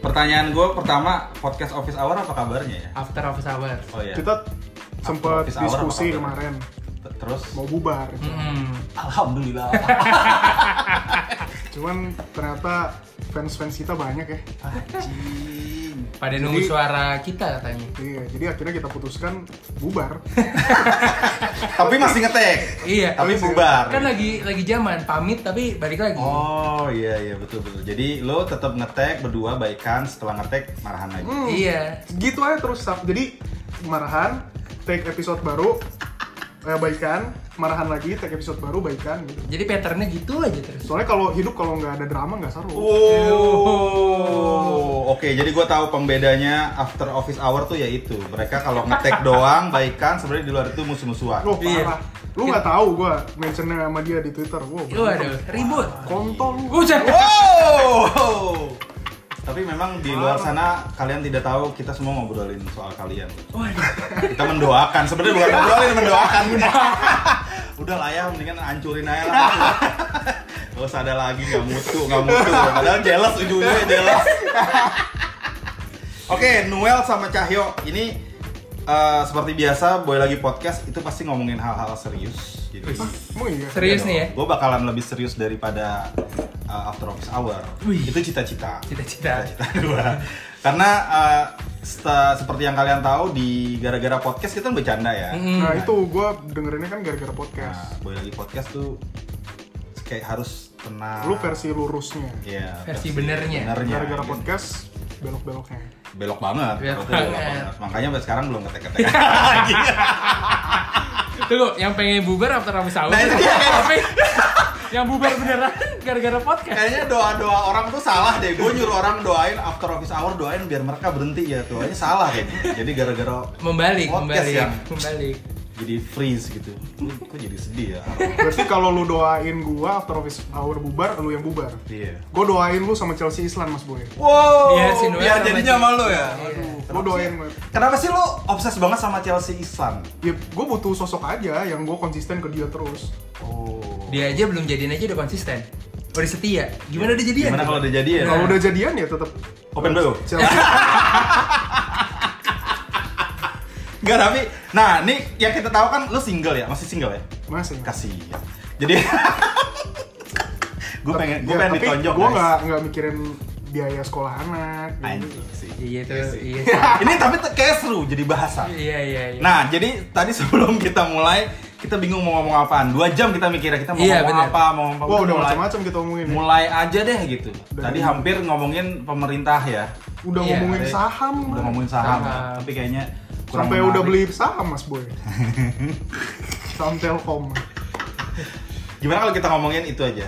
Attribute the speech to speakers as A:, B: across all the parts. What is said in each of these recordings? A: Pertanyaan gue pertama, podcast Office Hour apa kabarnya ya?
B: After office hour.
A: Oh iya.
C: Kita sempat
A: office hour
C: diskusi
A: apa kabar?
C: kemarin
A: T- Terus
C: mau bubar.
B: Hmm.
A: alhamdulillah.
C: Cuman ternyata fans-fans kita banyak ya.
A: Anjing.
B: Pada nunggu
C: Jadi-
B: suara kita katanya.
C: Iya, jadi akhirnya kita putuskan bubar.
A: tapi masih ngetek.
B: Iya.
A: tapi bubar.
B: Kan lagi lagi zaman pamit tapi balik lagi.
A: Oh iya iya betul betul. Jadi lo tetap ngetek berdua baikan setelah ngetek marahan lagi.
B: Iya.
C: Hmm. Gitu aja terus Sab. Jadi marahan, take episode baru, eh, baikan, marahan lagi, take episode baru, baikan gitu.
B: Jadi patternnya gitu aja terus.
C: Soalnya kalau hidup kalau nggak ada drama nggak seru.
A: Oh. Oke, jadi gue tahu pembedanya after office hour tuh yaitu mereka kalau ngetek doang baikan sebenarnya di luar itu musuh-musuhan.
C: Loh,
B: Iya.
C: parah. Lu nggak tahu gua mentionnya sama dia di Twitter. Wow,
B: Waduh, ribut.
C: kontol lu.
B: Ucap.
A: Wow. Tapi memang di luar sana kalian tidak tahu kita semua ngobrolin soal kalian.
B: Waduh.
A: Kita mendoakan sebenarnya bukan ngobrolin mendoakan. Udah lah ya, mendingan hancurin aja lah. Gak usah ada lagi, nggak mutu, nggak mutu. Padahal jealous ujung-ujungnya jealous. Oke, Noel sama Cahyo ini eh, seperti biasa, boy lagi podcast itu pasti ngomongin hal-hal serius. Jadi,
C: Emang iya?
B: Serius nih ya.
A: Gue bakalan lebih serius daripada uh, After Office Hour.
B: Wih.
A: Itu cita-cita.
B: Cita-cita.
A: Cita-cita gua. Karena uh, seta- seperti yang kalian tahu di gara-gara podcast kita kan bercanda ya.
B: Mm.
C: Nah itu gua dengerinnya kan gara-gara podcast.
A: Nah, boleh lagi podcast tuh kayak harus tenang.
C: Lu versi lurusnya.
A: Iya,
B: Versi benernya.
A: benernya.
C: Gara-gara
A: Gitu.
C: podcast belok-beloknya.
A: belok banget.
B: Belok
A: Berarti belok
B: banget.
A: banget. Makanya sampai sekarang belum ketek-ketek.
B: Tunggu, yang pengen bubar after office hour.
A: Nah, itu dia.
B: Tapi yang bubar beneran gara-gara podcast.
A: Kayaknya doa-doa orang tuh salah deh. Gue nyuruh orang doain after office hour doain biar mereka berhenti ya. Doanya salah kayaknya. Jadi gara-gara
B: Membalik,
A: Podcast ya?
B: membalik,
A: yang-
B: membalik.
A: jadi freeze gitu Lu- kok jadi sedih ya
C: Berarti kalau lu doain gua after office hour bubar, lu yang bubar.
A: iya
C: Gua doain lu sama Chelsea Islan mas boy.
A: wow
B: Iya, si Noel
A: biar
B: sama
A: jadinya
B: Chelsea.
A: sama lo ya
B: Iya.
A: Aduh,
C: Lu
A: kenapa
C: doain
A: sih-
C: banget.
A: kenapa sih lo obses banget sama Chelsea Islan
C: Ya gua butuh sosok aja yang gua konsisten ke dia terus.
A: oh
B: Dia aja belum jadiin aja udah konsisten. Udah setia. Gimana udah jadian?
A: Iya. gimana kalau udah jadian
C: Kalau udah jadian ya tetap
A: open bio
C: Chelsea.
A: Enggak tapi nah ini yang kita tahu kan lo single ya masih single ya
C: Masih.
A: kasih jadi gue pengen gue pengen ditonjok
C: Gue
A: guys.
C: ya, nggak nggak mikirin biaya sekolah anak. gitu.
A: anjing sih
B: Iya itu, iya.
A: ini tapi tuh kayak seru jadi bahasa
B: sih. Iya, iya, iya.
A: Nah, jadi tadi sebelum kita mulai, kita bingung mau ngomong apaan. Dua jam kita mikirnya kita mau
B: Iya,
A: ngomong
B: bener.
A: apa, mau ngomong apa.
C: Wah udah
A: mulai,
C: macam-macam kita omongin. ya.
A: mulai aja deh gitu.
C: Udah
A: tadi
C: ini.
A: hampir ngomongin pemerintah ya.
C: Udah
B: Iya,
C: ngomongin
A: Tadi
C: saham.
A: Udah
C: Mas.
A: ngomongin saham,
B: Saham.
A: tapi kayaknya kurang
C: Sampai
A: menarik.
C: udah beli saham mas boy. saham Telkom,
A: Gimana kalau kita ngomongin itu aja?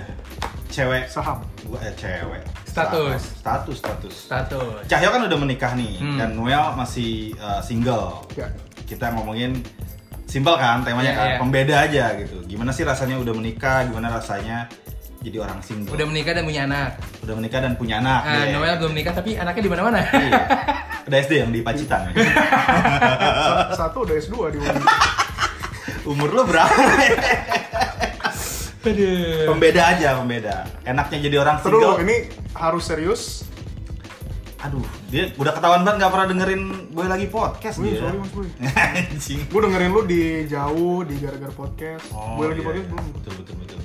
A: Cewek.
C: saham.
A: Gua eh, cewek.
B: Status.
A: Status, status.
B: Status.
A: Cahyo kan udah menikah nih
B: Hmm.
A: dan Noel masih eh, single.
C: Ya.
A: kita ngomongin simpel kan temanya
B: Iya,
A: kan
B: iya.
A: pembeda aja gitu gimana sih rasanya udah menikah gimana rasanya jadi orang single
B: Udah menikah dan punya anak.
A: Udah menikah dan punya anak
B: Ah,
A: deh.
B: Noel belum nikah tapi anaknya di mana-mana.
A: Iya. udah SD yang di Pacitan ya?
C: Sa- Satu udah S2 di Uni.
A: umur lo berapa
B: Aduh.
A: pembeda aja pembeda enaknya jadi orang
C: Terus
A: single
C: ini harus serius.
A: aduh dia udah ketahuan banget nggak pernah dengerin boy lagi podcast
C: Wih,
A: dia
C: sorry mas boy.
A: anjing
C: Gue dengerin lu di jauh di gara-gara podcast.
A: Oh,
C: Gue lagi
A: iya,
C: podcast
A: iya.
C: belum.
A: betul betul betul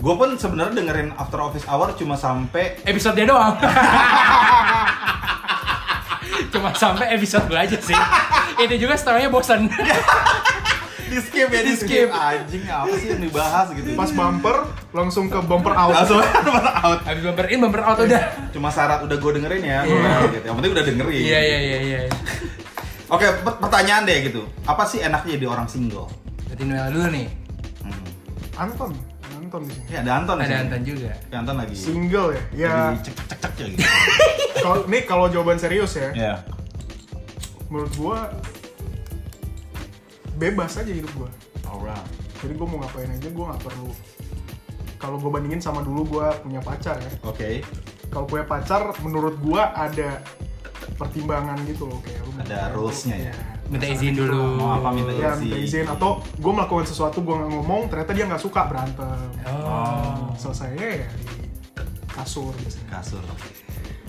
A: gue pun sebenarnya dengerin after office hour cuma sampai
B: Episode-nya doang. Cuma sampai episode gue aja sih. Itu juga setelahnya bosan.
A: di skip ya di skip anjing apa sih yang dibahas gitu
C: Pas bumper langsung ke bumper out.
A: langsung mana out
B: Habis bumper in, bumper out udah.
A: cuma syarat udah gue dengerin ya
B: Iya.
A: Noel, gitu. yang penting udah dengerin
B: Iya, iya, iya, iya.
A: oke per- pertanyaan deh gitu apa sih enaknya jadi orang single
B: Berarti Noel dulu nih.
A: hmm.
C: Anton, Anton di sini.
A: ya ada Anton di
B: Ada
A: sini.
B: Anton juga.
A: Ya, Anton lagi
C: Single ya. Ya.
A: cek cek cek cek gitu
C: Kalau nih kalau jawaban serius ya,
A: ya
C: menurut gua bebas aja hidup gua.
A: alright
C: Jadi gua mau ngapain aja gua nggak perlu. Kalau gua bandingin sama dulu gua punya pacar ya.
A: oke
C: Kalau punya pacar menurut gua ada pertimbangan gitu loh kayak lu mau Iya.
A: Ada
C: ngapain,
A: rules-nya
C: lu-
A: ya?
B: Minta izin dulu.
A: mau apa minta
C: Ya,
A: izin
C: minta izin atau gua melakukan sesuatu gua nggak ngomong ternyata dia nggak suka berantem.
B: Oh.
C: Selesainya ya di kasur biasanya.
A: kasur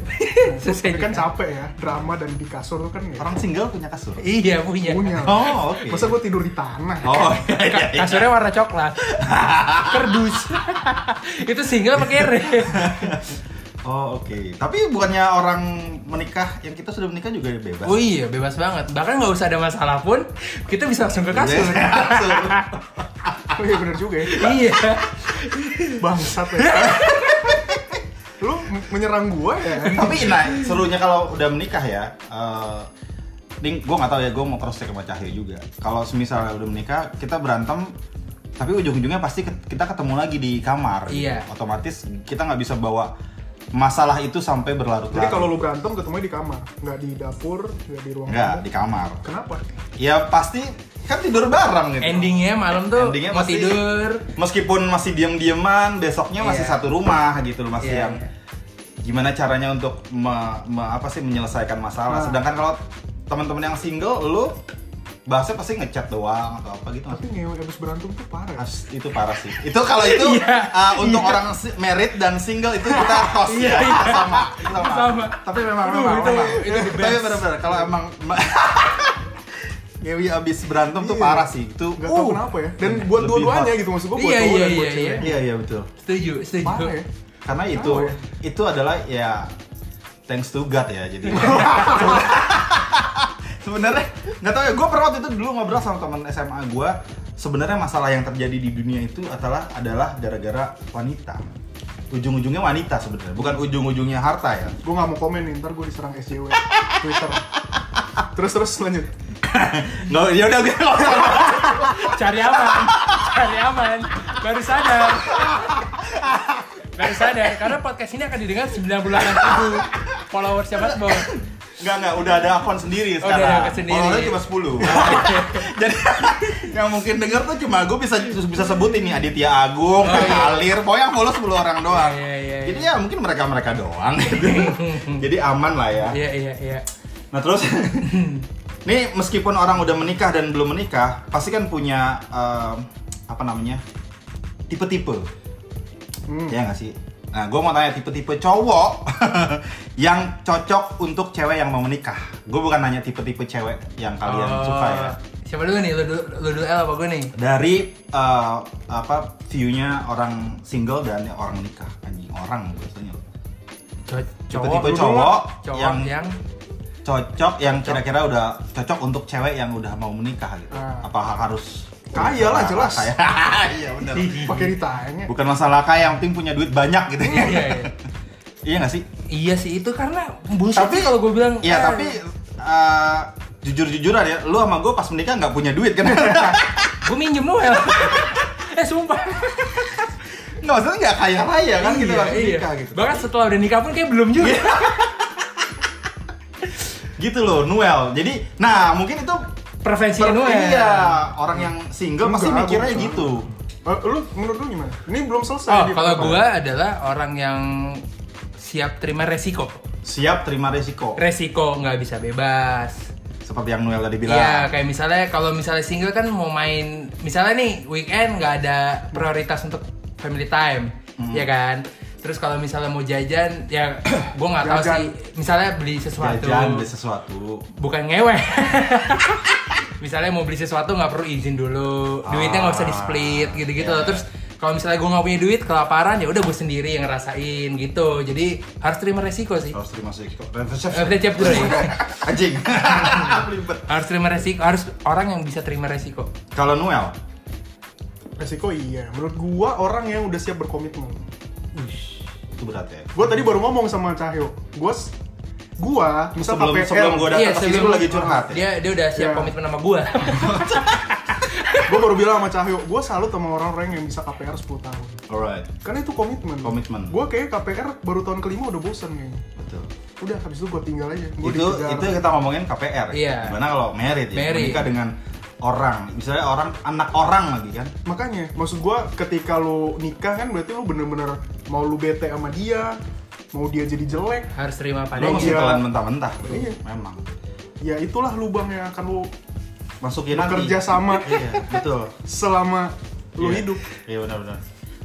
B: Selesai
C: Tapi kan
B: juga.
C: capek ya, drama dan di kasur tuh kan ya.
A: Orang single punya kasur?
B: Iya punya.
C: punya.
A: Oh, oke.
C: Masa gue tidur di tanah?
A: Oh, iya, iya, iya.
B: Kasurnya warna coklat. Kerdus. itu single pakai re.
A: Oh, oke. Tapi bukannya orang menikah yang kita sudah menikah juga bebas?
B: Oh iya, bebas banget. Bahkan nggak usah ada masalah pun, kita bisa langsung ke kasur.
A: Iya, kasur.
C: Oh iya bener juga ya.
B: iya.
C: Bangsat ya. Lu m- menyerang gue ya?
A: Tapi nah, serunya kalau udah menikah ya, eh Ding, gue gak tau ya, gue mau cross check sama Cahyo juga. Kalau semisal udah menikah, kita berantem, tapi ujung-ujungnya pasti ke- kita ketemu lagi di kamar. gitu.
B: Iya.
A: Otomatis kita nggak bisa bawa masalah itu sampai berlarut-larut.
C: Jadi kalau lu berantem ketemunya di kamar, nggak di dapur, nggak di ruang
A: nggak
C: tamu.
A: di kamar,
C: Kenapa?
A: ya pasti kan tidur bareng gitu.
B: Endingnya malam tuh
A: Endingnya
B: mau
A: pasti-
B: tidur.
A: meskipun masih diam-diaman besoknya masih
B: Iya.
A: satu rumah gitu loh masih
B: Iya,
A: yang
B: iya.
A: gimana caranya untuk me- me- apa sih menyelesaikan masalah
C: Nah.
A: sedangkan kalau teman-teman yang single lu bahasnya pasti ngechat doang atau apa gitu
C: Tapi ngewe abis berantem tuh parah. ya.
A: As- itu parah sih itu kalau itu
B: Iya,
A: uh, untuk
B: iya.
A: orang si- married dan single itu kita tos ya sama sama.
B: Sama.
A: tapi memang
B: Aduh,
A: memang,
B: itu-
A: memang.
B: itu the
A: tapi
B: best.
A: benar-benar kalau emang Ngewi abis berantem tuh
C: Iya.
A: parah sih itu
C: Nggak tahu
A: uh,
C: kenapa ya. Dan buat
A: lebih
C: dua-duanya
A: hot.
C: gitu maksud gue buat
B: Iya,
C: cowok
B: iya,
C: dan buat
B: iya,
C: cewek.
A: iya iya betul
B: Setuju, setuju.
C: Parah ya.
A: karena itu
C: Kenapa ya?
A: itu adalah ya thanks to God ya jadi sebenarnya nggak tahu ya gue pernah waktu itu dulu ngobrol sama teman SMA gue sebenarnya masalah yang terjadi di dunia itu adalah adalah gara-gara wanita ujung-ujungnya wanita sebenarnya bukan ujung-ujungnya harta ya
C: Gue nggak mau komen nih, ntar gue diserang SJW Twitter. Terus terus lanjut.
A: nggak ya udah gue nggak usah.
B: Cari aman. Cari aman. Baru sadar. Baru sadar karena podcast ini akan didengar 98 ribu followersnya Mas Bo.
A: nggak nggak udah ada akun sendiri
B: Oh, udah
A: sekarang
B: ada akun sendiri.
A: Followernya cuma 10 jadi yang mungkin denger tuh cuma gue bisa bisa sebut ini Aditya Agung, Alir, pokoknya yang follow 10 orang doang.
B: Oh, Iya, iya, iya.
A: Jadi ya mungkin mereka mereka doang. Jadi aman lah ya.
B: Iya iya iya.
A: Nah terus, nih meskipun orang udah menikah dan belum menikah, pasti kan punya em, apa namanya tipe-tipe,
C: Hmm.
A: ya nggak sih? Nah gue mau tanya tipe-tipe cowok yang cocok untuk cewek yang mau menikah. Gue bukan nanya tipe-tipe cewek yang kalian
B: Oh,
A: suka ya.
B: Siapa dulu nih? Lu dulu, lu dulu El apa gue nih?
A: Dari eh, apa view-nya orang single dan orang menikah anjing orang biasanya.
B: Co-
A: Tipe-tipe
B: dulu.
A: cowok,
B: cowok yang,
A: yang cocok yang kira-kira udah cocok untuk cewek yang udah mau menikah gitu.
C: Ah.
A: Apa ha- harus
C: Kaya lah, jelas.
A: Kaya. Iya benar.
C: Pakai ditanya.
A: Bukan masalah kaya, yang penting punya duit banyak gitu
B: Iya, iya, iya.
A: iya nggak sih?
B: Iya sih itu karena bullshit
A: Tapi-
B: sih kalau gue bilang.
A: Iya,
B: eh,
A: tapi eh, jujur-jujuran ya, lu sama gue pas menikah nggak punya duit kan?
B: gue minjem lu El. eh sumpah.
A: Nggak maksudnya nggak kaya-kaya kan gitu
B: Iya,
A: pas
B: iya.
A: menikah gitu. Iya.
B: Bahkan setelah udah nikah pun kayak belum juga.
A: Gitu loh, Noel. Jadi, nah mungkin itu
B: Prevensi
A: per-
B: Noel.
A: iya, orang yang single pasti
C: Enggak,
A: mikirnya
C: bukan.
A: gitu.
C: Eh, lu menurut lu gimana? Ini belum selesai.
B: Oh,
C: di
B: kalau
C: pertanyaan.
B: gua adalah orang yang siap terima resiko.
A: Siap terima resiko.
B: Resiko nggak bisa bebas.
A: Seperti yang Noel tadi bilang.
B: Iya, kayak misalnya kalau misalnya single kan mau main, misalnya nih weekend nggak ada prioritas untuk family time,
A: Hmm.
B: ya kan. Terus kalau misalnya mau jajan, ya gua nggak tahu
C: Jajan.
B: sih. Misalnya beli sesuatu,
A: jajan beli sesuatu
B: bukan ngewe. misalnya mau beli sesuatu nggak perlu izin dulu, duitnya nggak usah di split
A: Ah,
B: gitu-gitu.
A: iya.
B: loh. Terus kalau misalnya gua nggak punya duit, kelaparan ya udah gue sendiri yang ngerasain gitu. Jadi harus terima resiko sih.
A: harus terima resiko
B: Eh, udah siap dulu ya.
A: anjing Belibet.
B: harus terima resiko, harus orang yang bisa terima resiko.
A: kalau Noel
C: Resiko iya. Menurut gua orang yang udah siap berkomitmen.
A: itu berat ya
C: Gua tadi baru ngomong sama Cahyo. Gua s- gua misal
A: sebelum
C: KPL,
A: sebelum gue datang
B: Iya,
A: ke sini lu
B: sebelum-
A: lagi curhat ya
B: Dia dia udah siap
C: Iya.
B: komitmen sama gua.
C: gua baru bilang sama Cahyo, gua salut sama orang-orang yang bisa KPR 10 tahun.
A: alright
C: Karena itu komitmen.
A: Komitmen.
C: Gua kayak KPR baru tahun kelima udah bosan kayaknya.
A: betul
C: Udah habis itu gua tinggal aja. Gua
A: itu
C: dikejar.
A: itu kita ngomongin KPR
B: Iya.
A: gimana kalau married ya
B: Married.
A: menikah dengan orang misalnya orang anak orang lagi kan
C: Makanya, maksud gua ketika lo nikah kan berarti lo bener-bener mau lu bete sama dia, mau dia jadi jelek,
B: Harus terima
A: lu
B: padanya.
A: mesti
C: Iya.
A: telan mentah-mentah tuh.
C: Iya.
A: memang
C: ya itulah lubang yang akan lo
A: masukin nanti
C: Bekerja sama.
A: iya betul
C: selama
A: Iya.
C: lo hidup.
A: iya benar-benar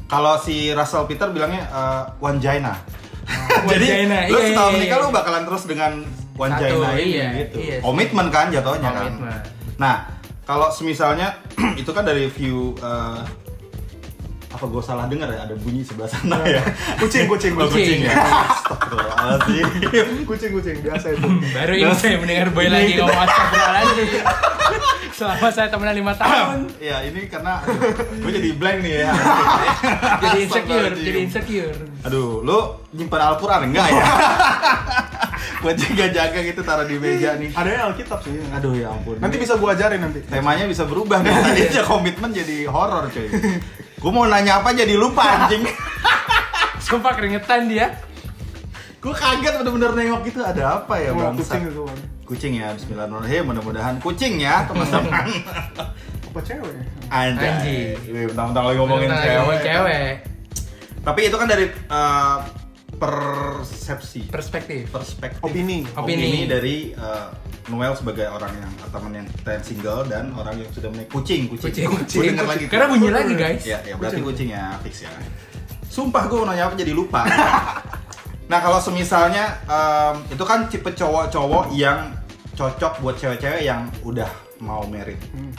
A: kalau si Russell Peter bilangnya eh, wangina
B: Jadi,
A: Jadi lu setelah
B: iya,
A: menikah lu bakalan terus dengan
B: Satu,
A: wanjaina ini
B: iya,
A: gitu.
B: iya.
A: Komitmen kan jatuhnya kan.
B: Komitmen.
A: Nah, kalau semisalnya itu kan dari view eh, apa gue salah dengar ya ada bunyi sebelah sana ya.
B: Iya.
C: Kucing, kucing,
A: Oh,
B: Kucing.
A: ya. Astagfirullahaladzim.
C: kucing kucing biasa itu
B: Baru ini
A: Terus-
B: saya mendengar Boy lagi
A: Iya.
B: ngomong astagfirullahaladzim Selama saya temenan 5 tahun
A: Ya ini karena gue jadi blank nih ya.
B: Jadi insecure,
A: Astagfirullahaladzim.
B: jadi insecure
A: Aduh, lu nyimpan Al-Quran enggak ya? Buat jaga-jaga gitu taruh di meja nih.
C: ada yang alkitab sih iya.
A: Aduh ya ampun.
C: nanti bisa gua ajarin nanti
A: temanya bisa berubah nih. Tadi aja komitmen jadi horor cuy. Gue mau nanya apa jadi lupa anjing.
B: Sumpah keringetan dia
A: Gue kaget bener-bener nengok gitu ada apa ya
C: Wah,
A: bangsa.
C: kucing itu Wan.
A: Kucing ya Bismillahirrahmanirrahim. Mudah-mudahan kucing ya teman-teman.
C: apa cewek
A: Anjay.
B: Anjing.
A: Wih, Bentar-bentar lagi ngomongin
B: Bentar,
A: cewek.
B: ngomongin cewek
A: Tapi itu kan dari eh, persepsi,
B: Perspektif
A: perspektif,
C: Opini.
B: Opini.
A: dari eh, Noel sebagai orang yang teman yang kita yang single dan orang yang sudah menikah kucing, kucing,
B: Kucing,
A: Gua
B: kucing
A: dengar lagi.
B: Karena bunyi lagi guys
A: Ya, ya berarti kucing ya, fix ya. Sumpah gue mau nanya apa jadi lupa. nah kalau semisalnya em, itu kan tipe cowok-cowok yang cocok buat cewek-cewek yang udah mau married.
C: Hmm.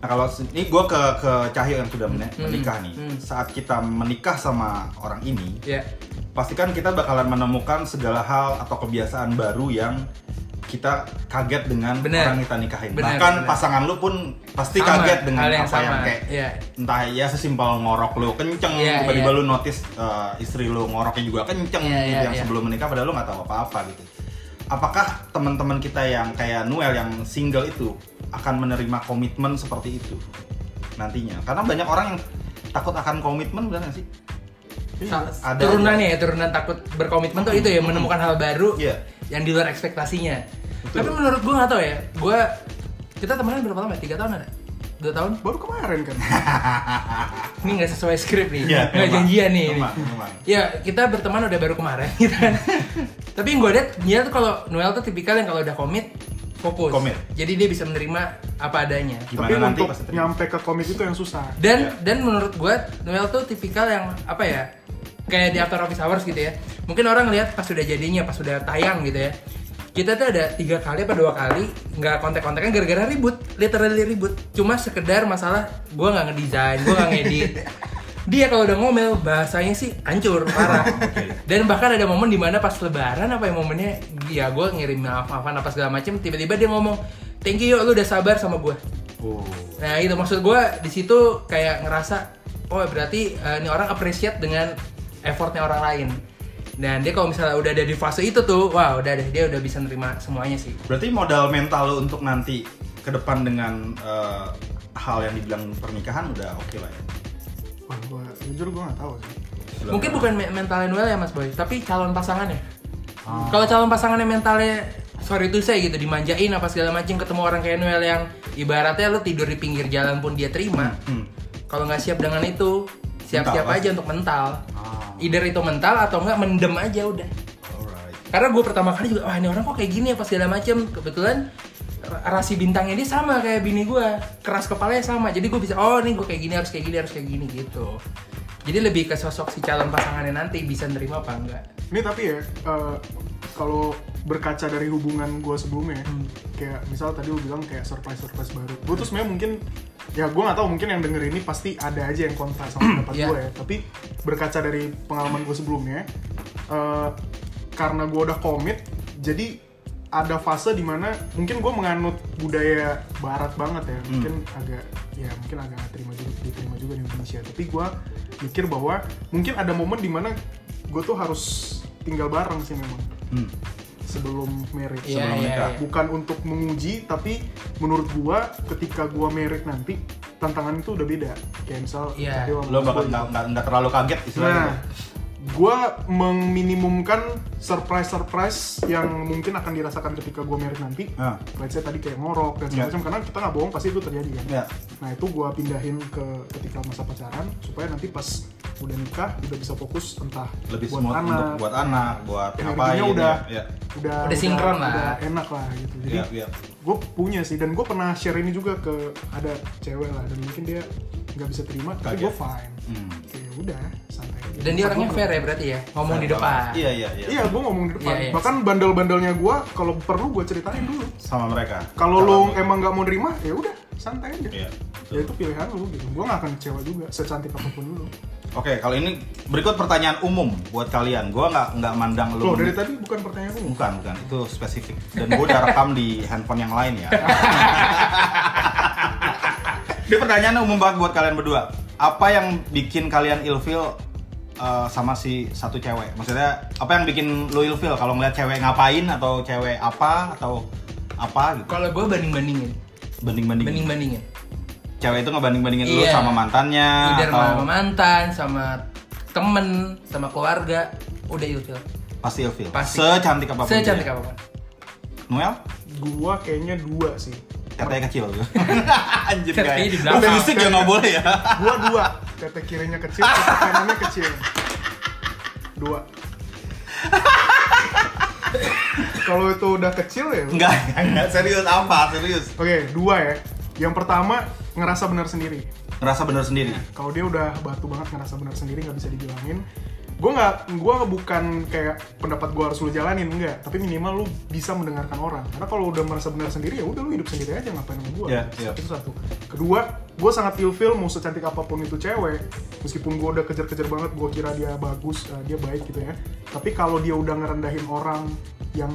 A: Nah kalau se- ini gue ke ke Cahyo yang sudah men-
B: Hmm,
A: menikah nih.
B: hmm.
A: Saat kita menikah sama orang ini,
B: Ya
A: pastikan kita bakalan menemukan segala hal atau kebiasaan baru yang kita kaget dengan
B: Bener.
A: orang yang kita nikahin.
B: Bener,
A: Bahkan
B: bener.
A: pasangan lu pun pasti
B: Sama,
A: kaget dengan
B: hal yang
A: apa yang
B: sama.
A: kayak
B: Iya.
A: entah ya sesimpel ngorok lu kenceng,
B: Iya,
A: tiba-tiba
B: iya.
A: lu notice uh, istri lu ngoroknya juga kenceng
B: Iya,
A: gitu
B: iya,
A: yang
B: iya.
A: sebelum menikah padahal lu nggak tahu apa-apa gitu. Apakah teman-teman kita yang kayak Noel yang single itu akan menerima komitmen seperti itu nantinya? Karena banyak orang yang takut akan komitmen benar nggak sih?
B: Sa-
A: Iya. Ada Hmm.
B: turunannya ya turunan takut berkomitmen tuh itu ya menemukan hal baru
A: Iya.
B: yang di luar ekspektasinya
A: Betul.
B: tapi menurut gue nggak tau ya gue kita temenan berapa lama ya? tiga tahun ada dua tahun
C: baru kemarin kan
B: ini nggak sesuai skrip nih
A: Iya,
B: nggak
A: emang.
B: janjian nih ini.
A: Emang, emang.
B: ya kita berteman udah baru kemarin gitu kan tapi yang gue lihat dia tuh kalau Noel tuh tipikal yang kalau udah komit fokus
A: Komit.
B: jadi dia bisa menerima apa adanya
A: Gimana
C: tapi
A: nanti
C: untuk
A: pas ketemu?
C: nyampe ke komik itu yang susah
B: dan
A: Ya.
B: dan menurut gue Noel tuh tipikal yang apa ya kayak di after office hours gitu ya mungkin orang lihat pas sudah jadinya pas sudah tayang gitu ya kita tuh ada tiga kali apa dua kali nggak kontak-kontaknya gara-gara ribut literally ribut cuma sekedar masalah gue nggak ngedesain gue nggak ngedit dia kalau udah ngomel bahasanya sih hancur parah dan bahkan ada momen dimana pas lebaran apa ya momennya ya gue ngirim maaf-maafan apa segala macem tiba-tiba dia ngomong thank you yuk lu udah sabar sama gue
A: Oh.
B: Nah itu maksud gue di situ kayak ngerasa oh berarti eh, ini orang appreciate dengan effortnya orang lain. Dan dia kalau misalnya udah ada di fase itu tuh, wah udah deh dia udah bisa nerima semuanya sih.
A: Berarti modal mental lo untuk nanti ke depan dengan eh, hal yang dibilang pernikahan udah oke lah ya.
C: Wah, gua, jujur gua nggak tahu sih
A: Belum.
B: Mungkin bukan me- mentalnya Noel ya Mas Boy, tapi calon pasangannya.
A: Ah.
B: Kalau calon pasangannya mentalnya sorry tuh saya gitu dimanjain apa segala macam ketemu orang kayak Noel yang ibaratnya lu tidur di pinggir jalan pun dia terima.
A: Hmm.
B: Kalau nggak siap dengan itu, siap-siap
A: Mental,
B: aja untuk mental.
A: Ah.
B: Either itu mental atau enggak mendem aja udah.
A: Alright.
B: karena gue pertama kali juga wah ini orang kok kayak gini ya pas segala macem kebetulan ra- rasi bintangnya dia sama kayak bini gue keras kepalanya sama jadi gue bisa oh nih gue kayak gini harus kayak gini harus kayak gini gitu jadi lebih ke sosok si calon pasangannya nanti bisa nerima apa enggak
C: ini tapi ya eh, kalau berkaca dari hubungan gua sebelumnya ya, kayak misal tadi lu bilang kayak surprise surprise baru gua tuh sebenarnya mungkin ya gua nggak tahu mungkin yang denger ini pasti ada aja yang kontra sama pendapat
B: Iya.
C: gua ya tapi berkaca dari pengalaman gua sebelumnya eh, karena gua udah komit jadi ada fase dimana mungkin gua menganut budaya barat banget
B: Hmm.
C: ya mungkin agak ya mungkin agak nggak terima juga diterima juga di Indonesia tapi gua mikir bahwa mungkin ada momen dimana gue tuh harus tinggal bareng sih memang
A: Hmm.
C: sebelum married
B: Iya,
A: Sebelum
B: iya,
A: nikah.
B: iya.
C: bukan untuk menguji tapi menurut gua ketika gua married nanti tantangan itu udah beda kayak misal
B: Iya.
C: cari orang
A: Lo bakal
C: tua
A: nggak
C: gitu.
A: nggak- nggak terlalu kaget istilahnya. ya?
C: nah gua meminimumkan surprise surprise yang mungkin akan dirasakan ketika gua married nanti
A: Ah.
C: let's say tadi kayak ngorok dan segala
A: Iya.
C: macam karena kita nggak bohong pasti itu terjadi kan
A: Ya.
C: Nah itu gua pindahin ke ketika masa pacaran supaya nanti pas udah nikah udah bisa fokus entah
A: Lebih smooth untuk buat anak, buat ngapain.
C: energinya udah,
A: Ya.
C: udah
B: Udah sinkron lah.
C: udah enak lah gitu. Jadi
A: Ya, ya.
C: gue punya sih dan gue pernah share ini juga ke ada cewek lah dan mungkin dia nggak bisa terima tapi
A: Kaget.
C: gue fine
A: Hmm.
C: ya udah santai aja.
B: Dan dia orangnya
C: Gua-
B: fair ya berarti ya, ngomong di depan.
A: Iya iya iya.
C: iya gue ngomong di depan
B: Iya, iya.
C: bahkan bandel-bandelnya gue kalau perlu gue ceritain dulu
A: Sama mereka.
C: kalau
A: Cara
C: lo
A: gua-
C: emang nggak mau nerima ya udah santai aja
A: Iya.
C: ya itu pilihan lu gitu gue nggak akan kecewa juga secantik apapun lu
A: Oke, kalau ini berikut pertanyaan umum buat kalian. Gua nggak nggak mandang lu.
C: loh dari tadi bukan pertanyaan umum
A: Bukan, bukan. Itu spesifik. Dan gue udah rekam di handphone yang lain ya. Ini pertanyaan umum banget buat kalian berdua. Apa yang bikin kalian ilfeel uh, sama si satu cewek? Maksudnya, apa yang bikin lu ilfeel kalau ngeliat cewek ngapain atau cewek apa atau apa gitu?
B: Kalau gue banding-bandingin,
A: Banding-bandingin.
B: banding-bandingin.
A: Cewek itu ngebanding-bandingin lu
B: Iya.
A: sama mantannya
B: Either
A: atau
B: sama mantan, sama temen, sama keluarga, udah ilfil.
A: pasti ilfeel.
B: Pasti.
A: Secantik apapun.
B: Saya cantik
A: dia.
B: apapun.
A: Noel?
C: gue kayaknya dua sih
A: Katanya kecil lu. Anjir guys.
B: Tapi di belakang.
A: Feministik ya nggak boleh ya.
C: gue dua tete kirinya kecil tete kanannya kecil dua kalau itu udah kecil ya
A: Enggak, enggak serius apa? Serius.
C: oke dua ya yang pertama ngerasa benar sendiri
A: Ngerasa bener sendiri.
C: kalau dia udah batu banget ngerasa benar sendiri nggak bisa dibilangin gue nggak gue bukan kayak pendapat gue harus lu jalanin enggak tapi minimal lu bisa mendengarkan orang karena kalau udah merasa benar sendiri ya udah lu hidup sendiri aja ngapain sama gue
A: Iya, iya.
C: itu satu kedua gue sangat ilfil mau secantik apapun itu cewek meskipun gue udah kejar-kejar banget gue kira dia bagus eh, dia baik gitu ya tapi kalau dia udah ngerendahin orang yang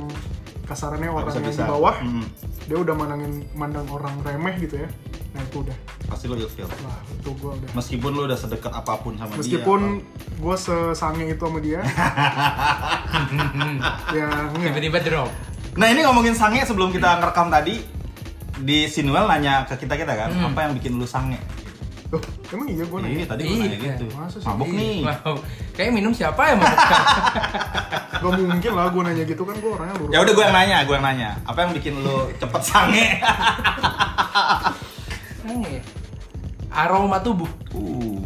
C: kasarannya orang yang
A: bisa-bisa.
C: di bawah
A: Mm.
C: dia udah mandangin mandang orang remeh gitu ya nah itu udah
A: Pasti lu ilfeel.
C: wah itu gue udah
A: Meskipun lu udah sedekat apapun sama dia.
C: Meskipun gue sesange itu sama dia, ya enggak.
B: Tiba-tiba drop.
A: atau- Nah, ini ngomongin sange sebelum
C: Mm.
A: kita ngerekam tadi di Sinuel nanya ke kita kita kan, apa yang bikin lu sange?
C: Loh, emang iya gue nanya.
A: Iya, tadi gue nanya
B: Iya.
A: gitu.
C: Masa sih?
A: Mabuk nih.
B: Wow. Kayak minum siapa ya, yang mau
C: Gak mungkin lah gue nanya gitu kan gue orangnya lurus.
A: Ya udah gue yang nanya, gue yang nanya. Apa yang bikin lu cepet sange?
B: Sange. ya? Aroma tubuh.
A: uh,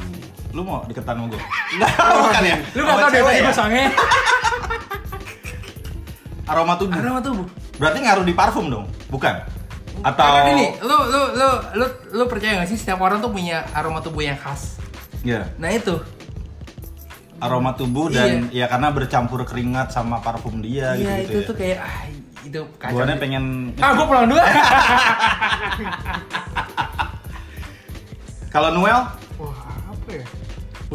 A: lu mau deketan sama gue? Enggak,
C: Oh,
A: bukan
C: iya.
A: ya.
B: Lu gak
A: Sama
B: tau dia
A: cewek ya?
B: tiba sange.
A: Aroma tubuh.
B: Aroma tubuh.
A: Berarti ngaruh di parfum dong? Bukan. Atau
B: Karena gini, lu lu lu lu lu percaya gak sih setiap orang tuh punya aroma tubuh yang khas.
A: Iya.
B: Nah itu.
A: aroma tubuh dan ya karena bercampur keringat sama parfum dia
B: Iya
A: gitu,
B: itu
A: gitu
B: tuh kayak ah itu
A: ya.
B: kacau.
A: Guanya
B: sih.
A: pengen
B: Ah gua pulang dulu.
A: kalau Noel
C: Wah apa ya?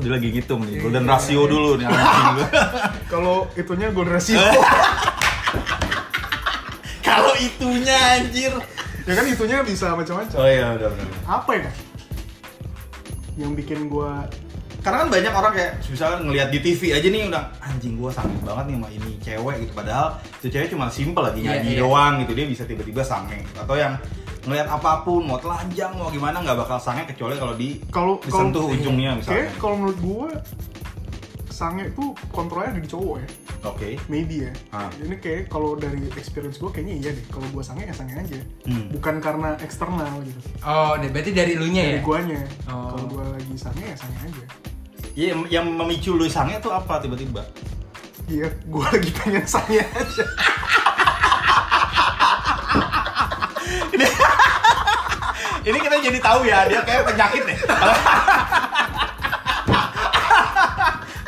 A: udah lagi ngitung nih golden rasio dulu nih anjing gua.
C: Kalau itunya gue rasio,
A: Eh. kalau itunya anjir
C: ya kan itunya bisa macam-macam.
A: oh iya udah udah
C: Apa ya? Yang bikin gue
A: karena kan banyak orang kayak misalnya ngelihat di TV aja nih udah anjing gua sange banget nih sama ini cewek gitu padahal itu cewek cuma simple lagi
B: Iya,
A: nyanyi
B: iya.
A: doang gitu dia bisa tiba-tiba sange atau yang ngelihat apapun mau telanjang mau gimana nggak bakal sange kecuali kalau di
C: kalau kalau
A: disentuh ujungnya misalnya
C: Kayak kalau menurut gue sange itu kontrolnya ada di cowok ya.
A: oke
C: maybe ya
A: Ah.
C: ini kayak kalau dari experience gue kayaknya iya deh kalau gue sange ya sange aja
A: Hmm.
C: bukan karena eksternal gitu
B: Oh, deh, berarti dari elunya ya.
C: dari guanya
B: Oh.
C: kalau gue lagi sange ya sange aja
A: Iya, yang- yang memicu lu sange tuh apa tiba-tiba?
C: iya gue lagi pengen sange aja
A: Ini kita jadi tahu ya, dia kayak penyakit deh.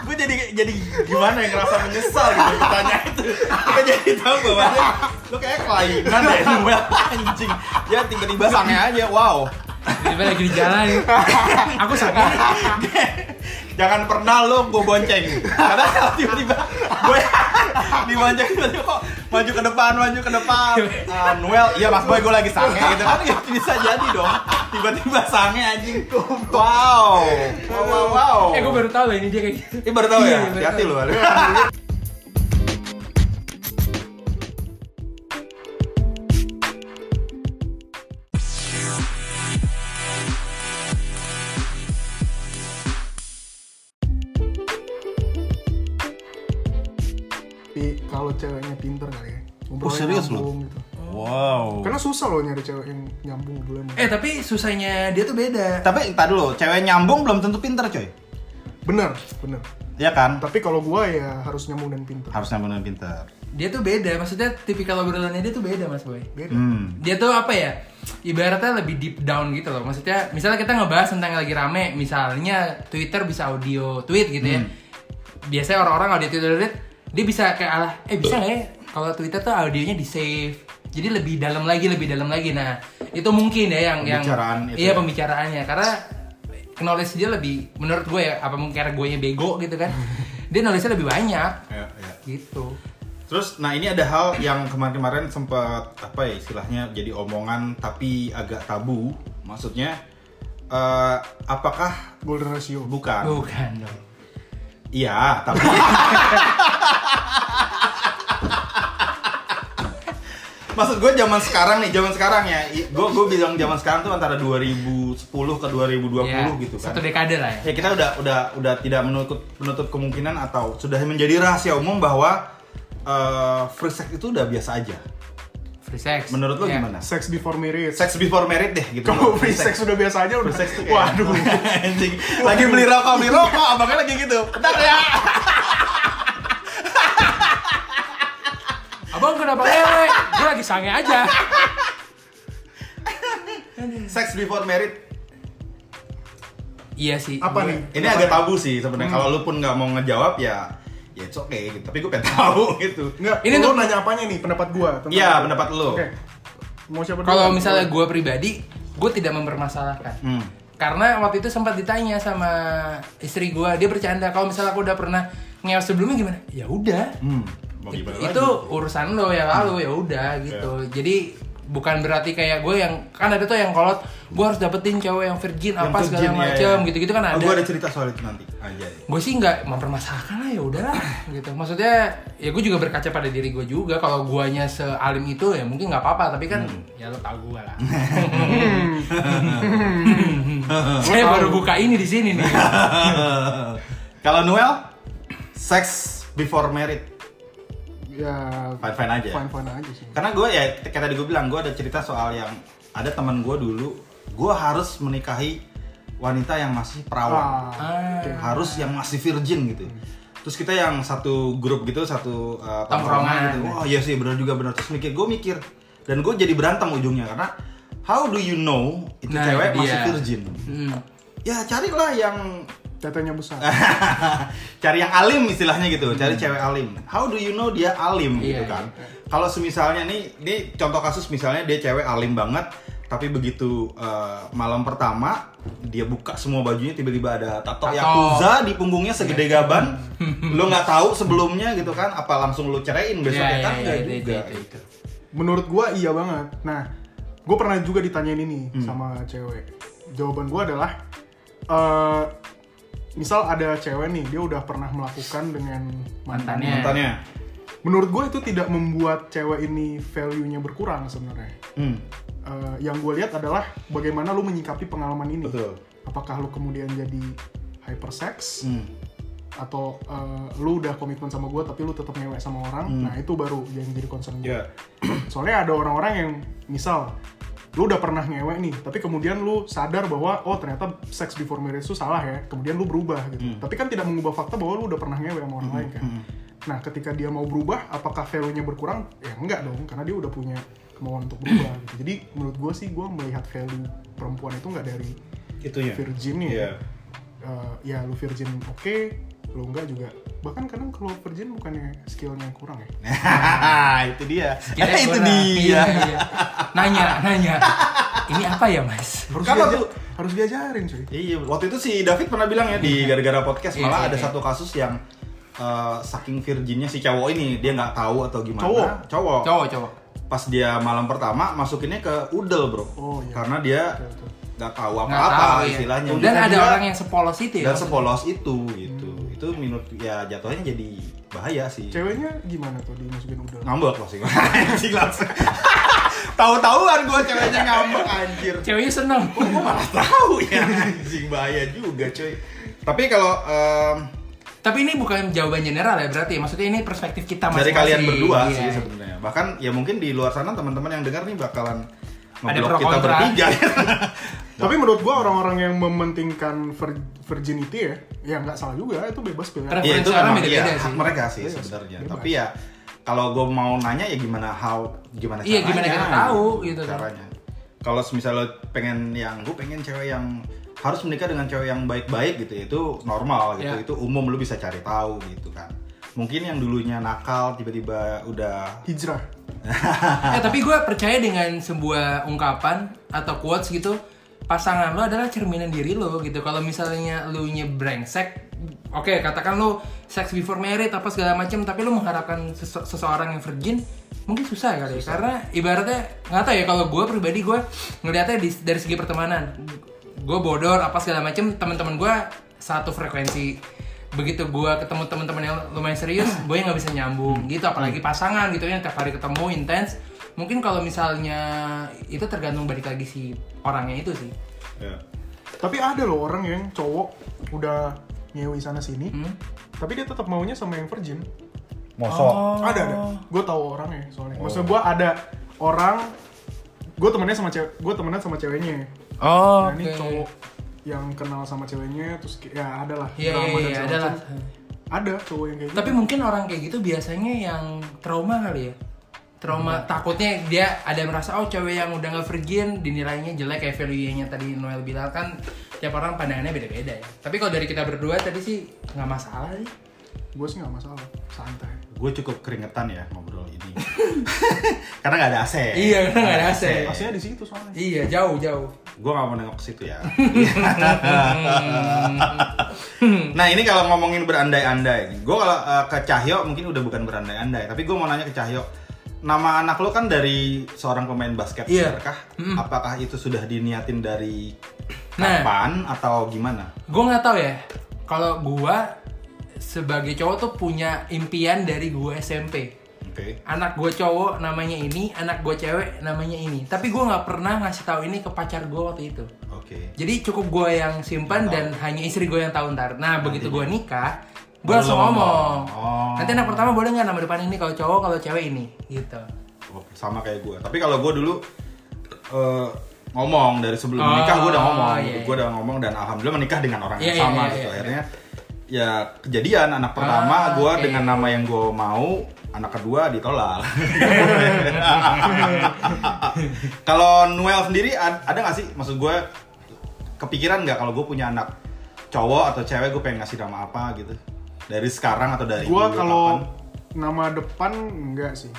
A: gue jadi jadi gimana yang ngerasa menyesal gitu ditanya itu kita jadi tahu bahwa dia, lu kayak kelainan deh Noel anjing ya tiba-tiba sange aja wow
B: Tiba lagi di jalan. Aku sakit.
A: jangan pernah lu gue bonceng karena kalau tiba-tiba gue dibonceng tiba-tiba kok maju ke depan maju ke depan Ah, Noel iya mas boy gue lagi sange gitu kan ya, bisa jadi dong tiba-tiba sange anjing wow wow wow, wow.
B: Eh gua baru tahu loh ini dia kayak gitu.
A: Ini baru tahu
B: Iya,
A: ya
B: baru
A: hati-hati
B: tahu.
A: lu Ale.
C: tapi kalau ceweknya pinter kali ya
A: Oh, serius lu? Oh.
C: nyambung gitu
A: wow
C: karena susah loh nyari cewek yang nyambung dulu
B: Eh tapi susahnya dia tuh beda.
A: tapi entar dulu cewek nyambung belum tentu pinter coy
C: bener bener
A: Iya kan
C: tapi kalau gue ya harus nyambung dan pinter
A: harus nyambung dan pinter
B: dia tuh beda maksudnya tipikal obrolannya dia tuh beda mas boy
C: Beda.
A: Hmm.
B: dia tuh apa ya ibaratnya lebih deep down gitu loh maksudnya misalnya kita ngebahas tentang yang lagi rame misalnya Twitter bisa audio tweet gitu
A: Hmm.
B: ya biasanya orang-orang audio Twitter tweet dia bisa kayak alah eh bisa nggak ya kalau Twitter tuh audionya di save jadi lebih dalam lagi lebih dalam lagi nah itu mungkin ya yang
A: Pembicaraan
B: yang
A: itu
B: iya
A: ya.
B: pembicaraannya karena knowledge dia lebih menurut gue ya apa mungkin karena gue bego gitu kan dia knowledge-nya lebih banyak
A: Ya, ya.
B: gitu
A: Terus, nah ini ada hal yang kemarin-kemarin sempat apa ya istilahnya jadi omongan tapi agak tabu. Maksudnya, eh, apakah
C: Golden ratio.
A: bukan?
B: bukan dong
A: Iya, tapi Maksud gue zaman sekarang nih, zaman sekarang ya. I- Gue gue bilang zaman sekarang tuh antara 2010 ke 2020
B: Ya,
A: gitu kan.
B: satu dekade lah ya
A: Ya kita udah udah udah tidak menutup menutup kemungkinan atau sudah menjadi rahasia umum bahwa eh, free sex itu udah biasa aja.
B: free sex
A: Menurut lo
B: Ya.
A: gimana?
C: Sex before marriage.
A: Sex before married deh gitu.
C: Kalau free sex udah biasa aja udah.
A: Free sex tuh kayak-
C: Waduh.
A: Anjing. Lagi beli rokok, beli rokok, abangnya lagi gitu. Bentar ya.
B: Abang kenapa ngewe? Gue lagi sange aja.
A: Sex before married
B: Iya sih.
C: Apa
B: gue-
C: nih?
A: ini agak tabu sih sebenarnya. Kalau lu pun nggak mau ngejawab ya ya it's okay gitu. Tapi gue pengen tahu gitu.
C: Enggak,
B: Ini
C: ini lu
B: tuh-
C: nanya apanya nih pendapat gua tentang-
A: Iya, pendapat lu.
C: Oke. Mau siapa dulu?
B: Kalau misalnya gue pribadi, gue tidak mempermasalahkan.
A: Hmm.
B: Karena waktu itu sempat ditanya sama istri gue, dia bercanda kalau misalnya aku udah pernah ngewe sebelumnya gimana? Ya udah.
A: Hmm. Mau
B: It-
A: gimana
B: itu
A: lagi? Hmm. Iya.
B: urusan lo yang lalu ya udah gitu. Jadi bukan berarti kayak gue yang kan ada tuh yang kolot, gue harus dapetin cewek yang virgin
A: Yang
B: apa segala
A: virgin, ya,
B: macem
A: ya.
B: gitu-gitu kan ada.
A: Oh, gue ada cerita soal itu nanti. Ah, iya, Aja.
B: gue sih nggak mempermasalahkan lah ya udahlah gitu maksudnya ya gue juga berkaca pada diri gue juga kalau guanya sealim itu ya mungkin nggak apa-apa tapi kan
A: Hmm.
B: ya lo tau gue lah
A: Eh,
B: saya baru buka ini di sini nih
A: Kalau Noel, sex before married.
C: ya
A: Fine fine aja. ya?
C: fine-fine aja sih.
A: Karena gue ya kayak tadi gue bilang gue ada cerita soal yang ada teman gue dulu. Gue harus menikahi wanita yang masih perawan.
B: Ah.
C: oke.
A: harus yang masih virgin gitu terus kita yang satu grup gitu satu uh,
B: Tongkrongan.
A: gitu oh iya sih benar juga benar terus mikir gue mikir dan gue jadi berantem ujungnya karena how do you know itu
B: Nah,
A: cewek
B: itu
A: masih
B: dia.
A: virgin
B: Hmm.
A: ya carilah yang
C: Datanya besar.
A: cari yang alim istilahnya gitu cari cewek alim how do you know dia alim gitu
B: Hmm. Iya,
A: kan kalau semisalnya nih ini contoh kasus misalnya dia cewek alim banget tapi begitu uh, malam pertama dia buka semua bajunya tiba-tiba ada tato,
B: Tato. Iya.
A: yakuza di punggungnya segede gaban lu nggak tahu sebelumnya gitu kan apa langsung lu cerein besoknya
B: Ya, ya,
A: kan
B: ya,
A: nggak
B: itu,
A: juga
B: itu, itu.
C: Menurut gua iya banget. Nah, gua pernah juga ditanyain ini
A: Hmm.
C: sama cewek. Jawaban gua adalah eh misal ada cewek nih, dia udah pernah melakukan dengan mantannya.
B: mantannya
A: Contohnya,
C: Menurut gua itu tidak membuat cewek ini value-nya berkurang sebenarnya.
A: hmm,
C: Eh, yang gue lihat adalah bagaimana lu menyikapi pengalaman ini.
A: Betul.
C: Apakah lu kemudian jadi hypersex
A: hmm.
C: atau eh, lu udah komitmen sama gue tapi lu tetap ngewek sama orang?
A: Hmm.
C: Nah itu baru yang jadi concern gue.
A: ya
C: Soalnya ada orang-orang yang misal lu udah pernah ngewek nih, tapi kemudian lu sadar bahwa oh ternyata sex before marriage itu salah ya, kemudian lu berubah
A: Hmm.
C: gitu. Tapi kan tidak mengubah fakta bahwa lu udah pernah ngewek sama orang lain kan. Nah, ketika dia mau berubah, apakah value-nya berkurang? Ya enggak dong, karena dia udah punya kemauan untuk berubah gitu. Jadi menurut gue sih gue melihat value perempuan itu nggak dari
A: itunya
C: virginnya.
A: Iya.
C: Eh, ya lu virgin oke, lu enggak juga. Bahkan kadang kalau virgin bukannya skillnya kurang ya.
A: itu dia
B: Kita
A: Eh, itu
B: gua-
A: dia
B: iya, iya. nanya nanya ini apa ya mas
C: Harus
A: Kalau
C: diajar-
A: tuh-
C: harus diajarin cuy.
A: Iya, waktu itu si David pernah bilang ya di gara-gara podcast
B: Iya,
A: malah
B: iya,
A: ada
B: iya.
A: satu kasus yang eh, saking virginnya si cowok ini dia nggak tahu atau gimana.
C: Cowok?
A: Cowok.
B: cowok cowok
A: Pas dia malam pertama masukinnya ke udel bro,
C: Oh, iya.
A: karena dia
C: betul.
A: nggak tahu
B: nggak tahu
A: apa-apa
B: ya
A: istilahnya.
B: dan ada
A: dia-
B: orang yang sepolos itu ya
A: dan sepolos itu gitu. Itu menurut ya jatuhnya jadi bahaya sih.
C: Ceweknya gimana tuh dimasukin udel?
B: Nah,
A: Ngambek pasti gue. Anjing langsung. Tahu-tahuan gue ceweknya ngambek anjir.
B: ceweknya seneng
A: Gue malah tahu ya anjing bahaya juga cuy. Tapi kalau em,
B: tapi ini bukan jawaban general ya berarti maksudnya ini perspektif kita
A: dari
B: masing-masing
A: kalian berdua
B: Iya.
A: sih sebenarnya. Bahkan ya mungkin di luar sana teman-teman yang dengar nih bakalan
B: Ada
A: ngeblok
B: pro
A: kita
B: kontra.
A: bertiga. Iya,
C: Tapi menurut gua orang-orang yang mementingkan vir- virginity ya, ya nggak salah juga, itu bebas pilihan.
B: Terus-
A: Iya itu
B: Preferensi orang
A: memang
B: beda-beda
A: iya, hak
B: sih.
A: mereka sih
C: Bebas,
A: sebenarnya.
C: bebas.
A: Tapi ya kalau gue mau nanya ya gimana how gimana caranya
B: Iya, gimana kita tahu, gitu kan.
A: caranya kalau misalnya lo pengen yang gue pengen cewek yang harus menikah dengan cewek yang baik-baik gitu ya, itu normal gitu
B: Iya.
A: itu umum lo bisa cari tahu gitu kan mungkin yang dulunya nakal tiba-tiba udah
C: hijrah
B: Eh tapi gue percaya dengan sebuah ungkapan atau quotes gitu pasangan lo adalah cerminan diri lo gitu. Kalau misalnya lo brengsek, oke katakan lo sex before marriage apa segala macam, tapi lo mengharapkan sese- seseorang yang virgin mungkin susah kali ya. karena ibaratnya nggak tahu ya kalau gue pribadi gue ngelihatnya di- dari segi pertemanan gue bodor apa segala macam teman-teman gue satu frekuensi begitu gua ketemu teman-teman yang lumayan serius gue nggak bisa nyambung gitu apalagi pasangan gitu yang tiap hari ketemu intens mungkin kalau misalnya itu tergantung balik lagi si orangnya itu sih
A: ya.
C: tapi ada loh orang yang cowok udah nyewi sana sini
B: Hmm?
C: tapi dia tetap maunya sama yang virgin
B: Oh,
A: mosok
C: ada ada gue tahu orangnya soalnya maksudnya gue ada orang gue temennya sama cewek gue temenan sama ceweknya
B: oh
C: nah, ini cowok yang kenal sama ceweknya terus kayak- ya ada lah
B: iya iya
C: drama dan
B: iya
C: segala
B: adalah
C: macam. ada cowok yang kayak gitu
B: tapi mungkin orang kayak gitu biasanya yang trauma kali ya trauma takutnya dia ada merasa oh cewek yang udah nggak virgin dinilainya jelek kayak value nya tadi Noel bilang kan tiap orang pandangannya beda-beda ya tapi kalau dari kita berdua tadi sih nggak masalah sih
C: gue sih nggak masalah santai
A: gue cukup keringetan ya ngobrol ini karena nggak ada AC
B: Iya, karena nggak ada AC.
C: aslinya di situ soalnya
B: iya jauh jauh
A: gue nggak mau nengok ke situ ya nah ini kalau ngomongin berandai-andai gue kalau eh, ke Cahyo mungkin udah bukan berandai-andai tapi gue mau nanya ke Cahyo nama anak lo kan dari seorang pemain basket
B: Iya.
A: benerkah? apakah itu sudah diniatin dari
B: Nah.
A: kapan atau gimana
B: gue nggak tahu ya kalau gua sebagai cowok tuh punya impian dari gua SMP
A: oke
B: anak gue cowok namanya ini anak gue cewek namanya ini tapi gua nggak pernah ngasih tahu ini ke pacar gua waktu itu
A: oke
B: jadi cukup gua yang simpan dan hanya istri gua yang tahu ntar nah begitu gua nikah
A: Belum
B: gua langsung ngomong
A: ngomong. Oh.
B: nanti anak pertama boleh nggak nama depan ini kalau cowok kalau cewek ini gitu
A: Oke, Oh, sama kayak gue. Tapi kalau gue dulu eh, ngomong dari sebelum
B: Oh,
A: menikah gue udah ngomong,
B: iya,
A: gue udah ngomong dan alhamdulillah menikah dengan orang yang
B: Iya, iya,
A: sama
B: iya,
A: gitu.
B: iya.
A: Akhirnya ya kejadian anak pertama
B: Ah,
A: gue
B: oke.
A: dengan nama yang gue mau, anak kedua ditolak. kalau Noel sendiri ad- ada nggak sih maksud gue kepikiran nggak kalau gue punya anak cowok atau cewek gue pengen ngasih nama apa gitu dari sekarang atau dari
C: gue
A: dulu,
C: kalau
A: kapan?
C: nama depan enggak sih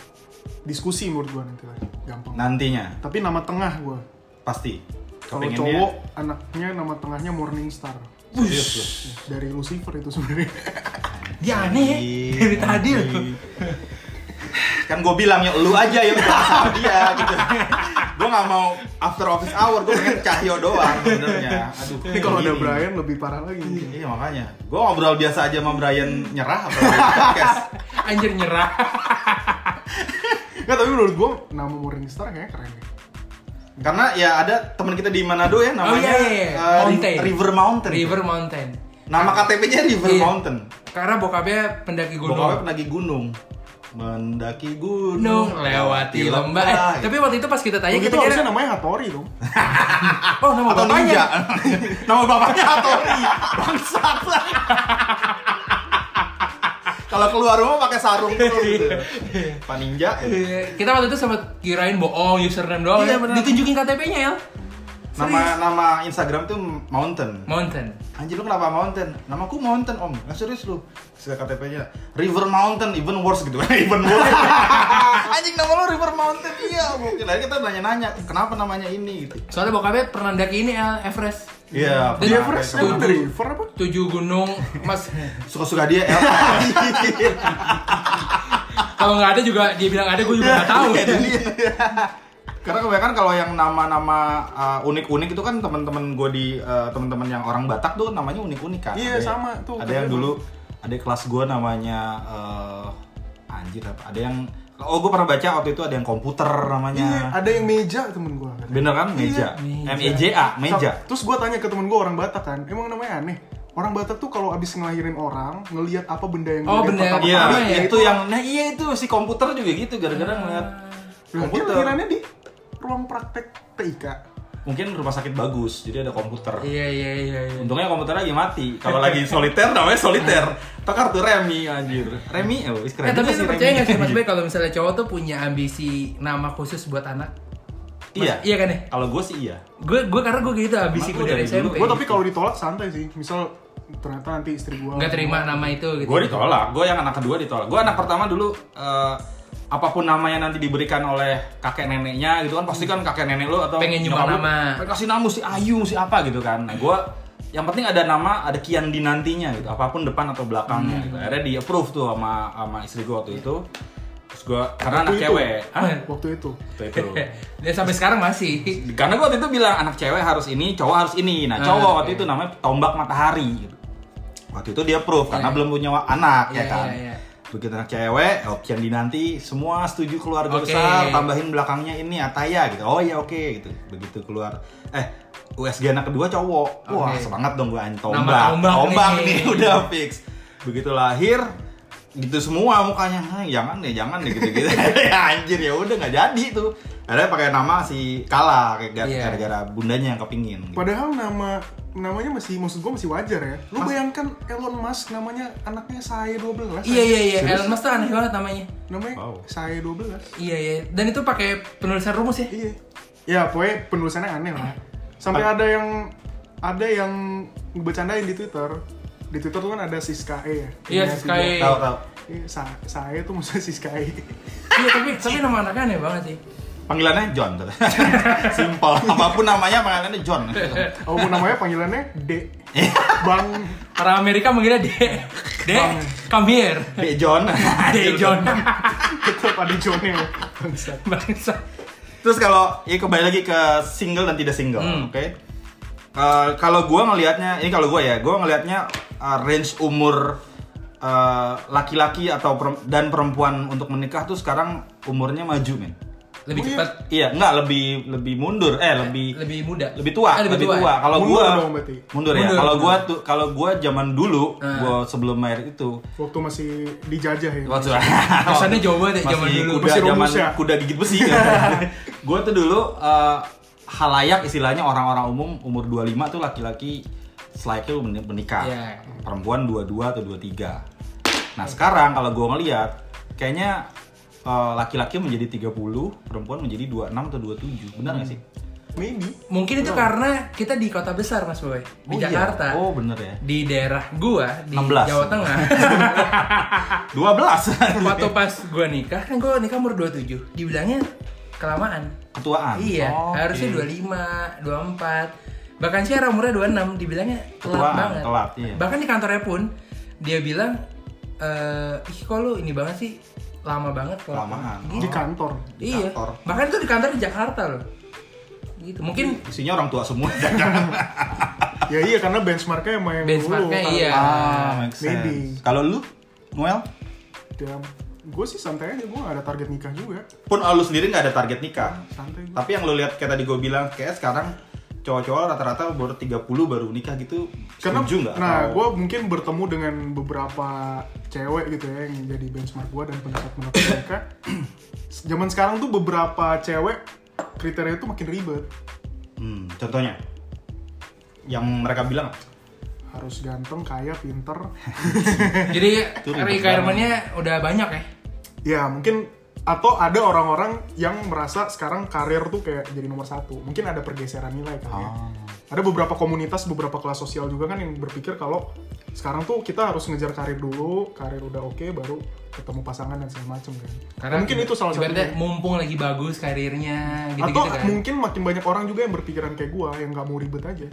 C: diskusi menurut gue nanti lah gampang
A: nantinya
C: tapi nama tengah gue
A: pasti
C: kalau
A: Kepengennya-
C: cowok anaknya nama tengahnya Morningstar
A: Serius lu?
C: dari Lucifer itu sebenarnya
B: dia aneh
A: Iya,
B: ya dari tadi loh
A: kan gue bilang yuk lu aja yang bahas sama dia gitu gue nggak mau after office hour gue pengen cahyo doang sebenarnya aduh
C: ini kalau ada
A: begini.
C: Brian lebih parah lagi mungkin.
A: iya makanya gue ngobrol biasa aja sama Brian nyerah apa Brian podcast
B: anjir nyerah
C: Nggak, tapi menurut gue nama Morningstar kayaknya keren ya
A: karena ya ada teman kita di Manado ya namanya
B: Oh, iya, iya, iya.
A: eh,
B: Mountain.
A: River Mountain
B: River Mountain
A: nama KTP-nya River
B: Iya.
A: Mountain
B: Karena bokapnya pendaki gunung.
A: Bokapnya pendaki gunung mendaki gunung
B: Gunung lewati lembah. Eh, tapi waktu itu pas kita tanya kita
C: Begitu gitu harusnya
B: kira,
C: namanya Hattori dong
B: oh nama
A: atau
B: bapaknya.
A: ninja nama bapaknya Hattori bangsat kalau keluar rumah pakai sarung terus gitu pak ninja ya.
B: Iya, Kita waktu itu sempat kirain bohong username doang.
A: Iya,
B: ya.
A: benar.
B: Ditunjukin KTP-nya ya.
A: nama nama Instagram tuh mountain
B: Mountain.
A: Anjir lu kenapa mountain? Namaku mountain om, nggak serius lu Saya KTP-nya River Mountain, even worse gitu Even worse Anjing nama lu River Mountain, iya mungkin Akhirnya kita nanya-nanya, kenapa namanya ini gitu
B: Soalnya bokapnya pernah daki ini El Everest.
A: Iya,
B: Dan
A: pernah
B: Everest
A: kayak
B: tuh.
A: gitu.
C: Emang dari River apa?
B: Tujuh gunung, Mas.
A: Suka-suka dia, ya. El
B: Kalau nggak ada juga dia bilang ada, gue juga nggak tahu.
A: Iya, Karena kebanyakan kalau yang nama-nama uh, unik-unik itu kan teman-teman gue di uh, teman-teman yang orang Batak tuh namanya unik-unik kan. Ada-
C: Iya, sama tuh.
A: Ada yang dulu ada kelas gue namanya uh, anjir apa? Ada yang oh gue pernah baca waktu itu ada yang komputer
C: Iya,
A: namanya.
C: ada yang meja temen gue
A: Bener kan meja.
B: Iya.
A: M E J A meja.
C: Terus gue tanya ke temen gue orang Batak kan, emang namanya aneh. Orang Batak tuh kalau abis ngelahirin orang, ngelihat apa benda yang
B: Oh,
C: ngelihat
B: benda
C: pertama
A: Iya,
B: Pertama
C: kali.
B: ya,
A: itu yang nah iya itu si komputer juga gitu gara-gara ngeliat
C: Nah, dia
A: komputer.
C: lahirannya di ruang praktek TIK.
A: mungkin rumah sakit bagus jadi ada komputer
B: Iya iya iya. iya.
A: Untungnya komputernya lagi mati. Kalau lagi soliter namanya soliter. Atau kartu remi anjir. Remi oh, is keren.
B: Eh,
A: juga
B: tapi lu
A: sih
B: percaya
A: remi.
B: nggak sih Mas Bay kalau misalnya cowok tuh punya ambisi nama khusus buat anak? Mas-
A: Iya.
B: Iya kan ya?
A: Kalau gue sih iya.
B: Gue gue karena gue gitu ambisi
A: Emang lu
B: gue dari
A: dari dulu?
B: SMP.
C: Gue tapi kalau ditolak santai sih. Misal ternyata nanti istri gue
B: nggak terima nama itu gitu.
A: Gue ditolak. Gue yang anak kedua ditolak. Gue anak pertama dulu eh, apapun nama yang nanti diberikan oleh kakek neneknya gitu kan pasti kan kakek nenek lu atau
B: Pengen
A: nyokap
B: nyumbang
A: lu,
B: nama.
A: pengen kasih nama si Ayu si apa gitu kan. Nah gue yang penting ada nama, ada kian di nantinya gitu, apapun depan atau belakangnya
B: Hmm.
A: gitu. Akhirnya di approve tuh sama sama istri gue waktu itu. Terus gue karena anak
C: Waktu itu?
A: cewek, Hah?
B: Ah.
C: Waktu itu.
A: Waktu itu.
B: Dan sampai sekarang masih.
A: Karena gua waktu itu bilang anak cewek harus ini, cowok harus ini. Nah, cowok
B: Ah, oke.
A: waktu itu namanya tombak matahari. gitu. Waktu itu dia proof karena
B: Iya.
A: belum punya wa- anak
B: Iya,
A: ya kan.
B: iya, iya.
A: Begitu anak cewek, opsi yang dinanti, semua setuju keluarga
B: Oke.
A: besar, tambahin belakangnya ini Ataya gitu. Oh iya oke gitu. Begitu keluar eh USG anak kedua cowok. Wah,
B: Oke.
A: semangat dong gua anjing tombak.
B: Nama tombak nih.
A: nih. udah fix. Begitu lahir gitu semua mukanya "Ah, jangan deh jangan deh gitu gitu ya anjir ya udah nggak jadi tuh ada pakai nama si Kala kayak gara-
B: Iya.
A: gara-gara bundanya yang kepingin gitu.
C: Padahal nama namanya masih maksud gue masih wajar ya. Lu bayangkan Elon Musk namanya anaknya saya 12.
B: Iya iya iya.
A: Serius?
B: Elon Musk tuh aneh banget namanya.
C: Namanya
A: Wow.
C: saya 12.
B: Iya iya. Dan itu pakai penulisan rumus ya.
C: Iya. Ya pokoknya penulisannya aneh lah. Sampai
B: Ah.
C: ada yang ada yang bercandain di Twitter. Di Twitter tuh kan ada Siska E ya.
B: Iya,
C: Punya
B: Siska
C: tiga.
B: E.
A: tahu tahu
C: Iya, sa- saya tuh maksudnya Siska E.
B: Iya tapi tapi nama anaknya aneh banget sih.
A: panggilannya John simple apapun namanya panggilannya John
C: Oh, namanya panggilannya D. Bang
B: Orang Amerika manggilnya D. D. Come here.
A: Dek John
B: D. John.
C: tetap ada Jonel. Bangsat.
B: Bangsa.
A: Terus kalau ya kembali lagi ke single dan tidak single,
B: Hmm.
A: oke? Eh, kalau gua ngelihatnya, ini kalau gua ya, gua ngelihatnya eh, range umur eh, laki-laki atau perem- dan perempuan untuk menikah tuh sekarang umurnya maju, men.
B: Lebih
C: Oh, iya.
B: cepat.
A: Iya, enggak lebih lebih mundur, eh lebih
B: Lebih muda.
A: lebih tua,
B: Ah,
A: lebih, tua. Kalau
C: Mundur
A: gua
C: dong berarti.
A: mundur ya.
B: Mundur,
A: Kalau
B: mundur.
A: gua tuh kalau gua zaman dulu,
B: Ah.
A: gua sebelum married itu
C: Waktu masih dijajah ya.
A: Waktu
B: Kesannya jauh banget ya, zaman
A: Masih
B: dulu.
A: Kuda,
C: Masih
A: zaman
C: rumus ya.
A: kuda gigit besi. gue tuh dulu eh, halayak istilahnya orang-orang umum umur 25 tuh laki-laki selalu menikah.
B: Iya.
A: Perempuan 22 atau 23. Nah, sekarang kalau gue ngeliat kayaknya eh, laki-laki menjadi 30, perempuan menjadi 26 atau 27. Benar
B: Hmm.
A: nggak sih?
C: Maybe.
B: Mungkin itu karena kita di kota besar Mas Boy. Di
A: Oh, iya.
B: Jakarta.
A: Oh, bener ya.
B: Di daerah gua di
A: 16.
B: Jawa Tengah. Ah.
A: 12.
B: waktu pas gua nikah kan gua nikah umur 27. Dibilangnya kelamaan.
A: Ketuaan.
B: Iya,
A: Oh, oke.
B: harusnya 25, 24. Bahkan Syara umurnya 26 dibilangnya telat
A: Ketuaan,
B: banget.
A: telat, iya.
B: Bahkan di kantornya pun dia bilang eh ih kok lu ini banget sih lama banget kok. Gitu.
A: Kelamaan. Oh,
C: Di kantor.
A: Di
B: iya.
A: kantor.
B: Bahkan tuh di kantor di Jakarta loh. Gitu. Mungkin
A: Isinya orang tua semua.
B: Iya.
C: Ya iya karena benchmarknya emang yang
B: benchmarknya
C: dulu. Kan.
B: iya.
A: ah, make
C: Maybe.
A: sense. Kalau lu, Noel?
C: Dan gue Ya, sih santai aja, gue gak ada target nikah juga.
A: pun lu sendiri nggak ada target nikah
C: Santai gue.
A: tapi yang lu lihat kayak tadi gue bilang kayak sekarang cowok-cowok rata-rata baru 30 baru nikah gitu
C: Karena,
A: setuju nggak
C: nah
A: Atau-
C: gue mungkin bertemu dengan beberapa cewek gitu ya yang jadi benchmark gue dan pendapat-pendapat mereka. Zaman sekarang tuh beberapa cewek kriterianya tuh makin ribet.
A: Hmm, contohnya yang mereka bilang
C: Harus ganteng, kaya, pinter.
B: Jadi
A: Itu ribet
B: requirement-nya udah banyak ya.
C: ya mungkin atau ada orang-orang yang merasa sekarang karir tuh kayak jadi nomor satu. Mungkin ada pergeseran nilai kan ya.
A: Ah.
C: Ada beberapa komunitas, beberapa kelas sosial juga kan yang berpikir kalau sekarang tuh kita harus ngejar karir dulu, karir udah oke baru ketemu pasangan dan segala macem kan. mungkin itu salah ya.
B: ibaratnya
C: satunya.
B: mumpung lagi bagus karirnya
C: Atau
B: gitu-gitu kan.
C: mungkin makin banyak orang juga yang berpikiran kayak gua yang nggak mau ribet aja.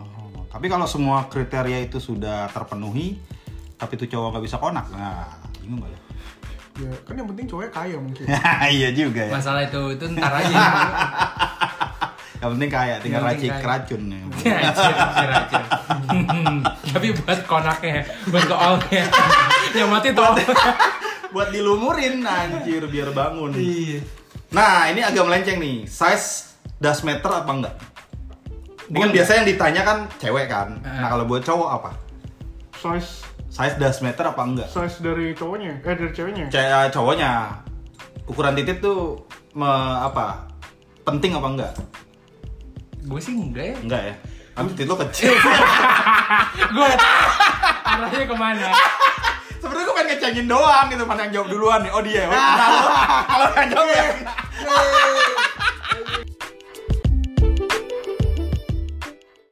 A: Oh, tapi kalau semua kriteria itu sudah terpenuhi tapi tuh cowok nggak bisa konak nah bingung gak ya
C: Ya kan yang penting cowoknya kaya mungkin.
A: iya juga ya
B: Masalah itu itu ntar aja.
A: yang penting kaya tinggal
B: Yang
A: racik
B: penting kaya.
A: racun ya.
B: Ya, anjir, anjir, anjir. Hmm, Tapi buat konaknya, ya, buat koalnya. Yang mati tol.
A: buat dilumurin anjir biar bangun Nah, ini agak melenceng nih. Size does matter apa enggak? Mungkin biasanya yang ditanya kan cewek kan.
B: Eh.
A: Nah, kalau buat cowok apa?
C: Size
A: Size does matter apa enggak?
C: size dari cowoknya, eh dari ceweknya.
A: Ce- eh, cowoknya ukuran titik tuh me- apa? Penting apa enggak?
B: Gue sih enggak ya.
A: Enggak ya? Nanti lo kecil.
B: Gue arahnya kemana?
A: Sebenarnya gue pengen ngecengin doang gitu, mana yang jawab duluan nih. Oh dia. oh, kenal lo. Kalau nggak jawab ya. kenal.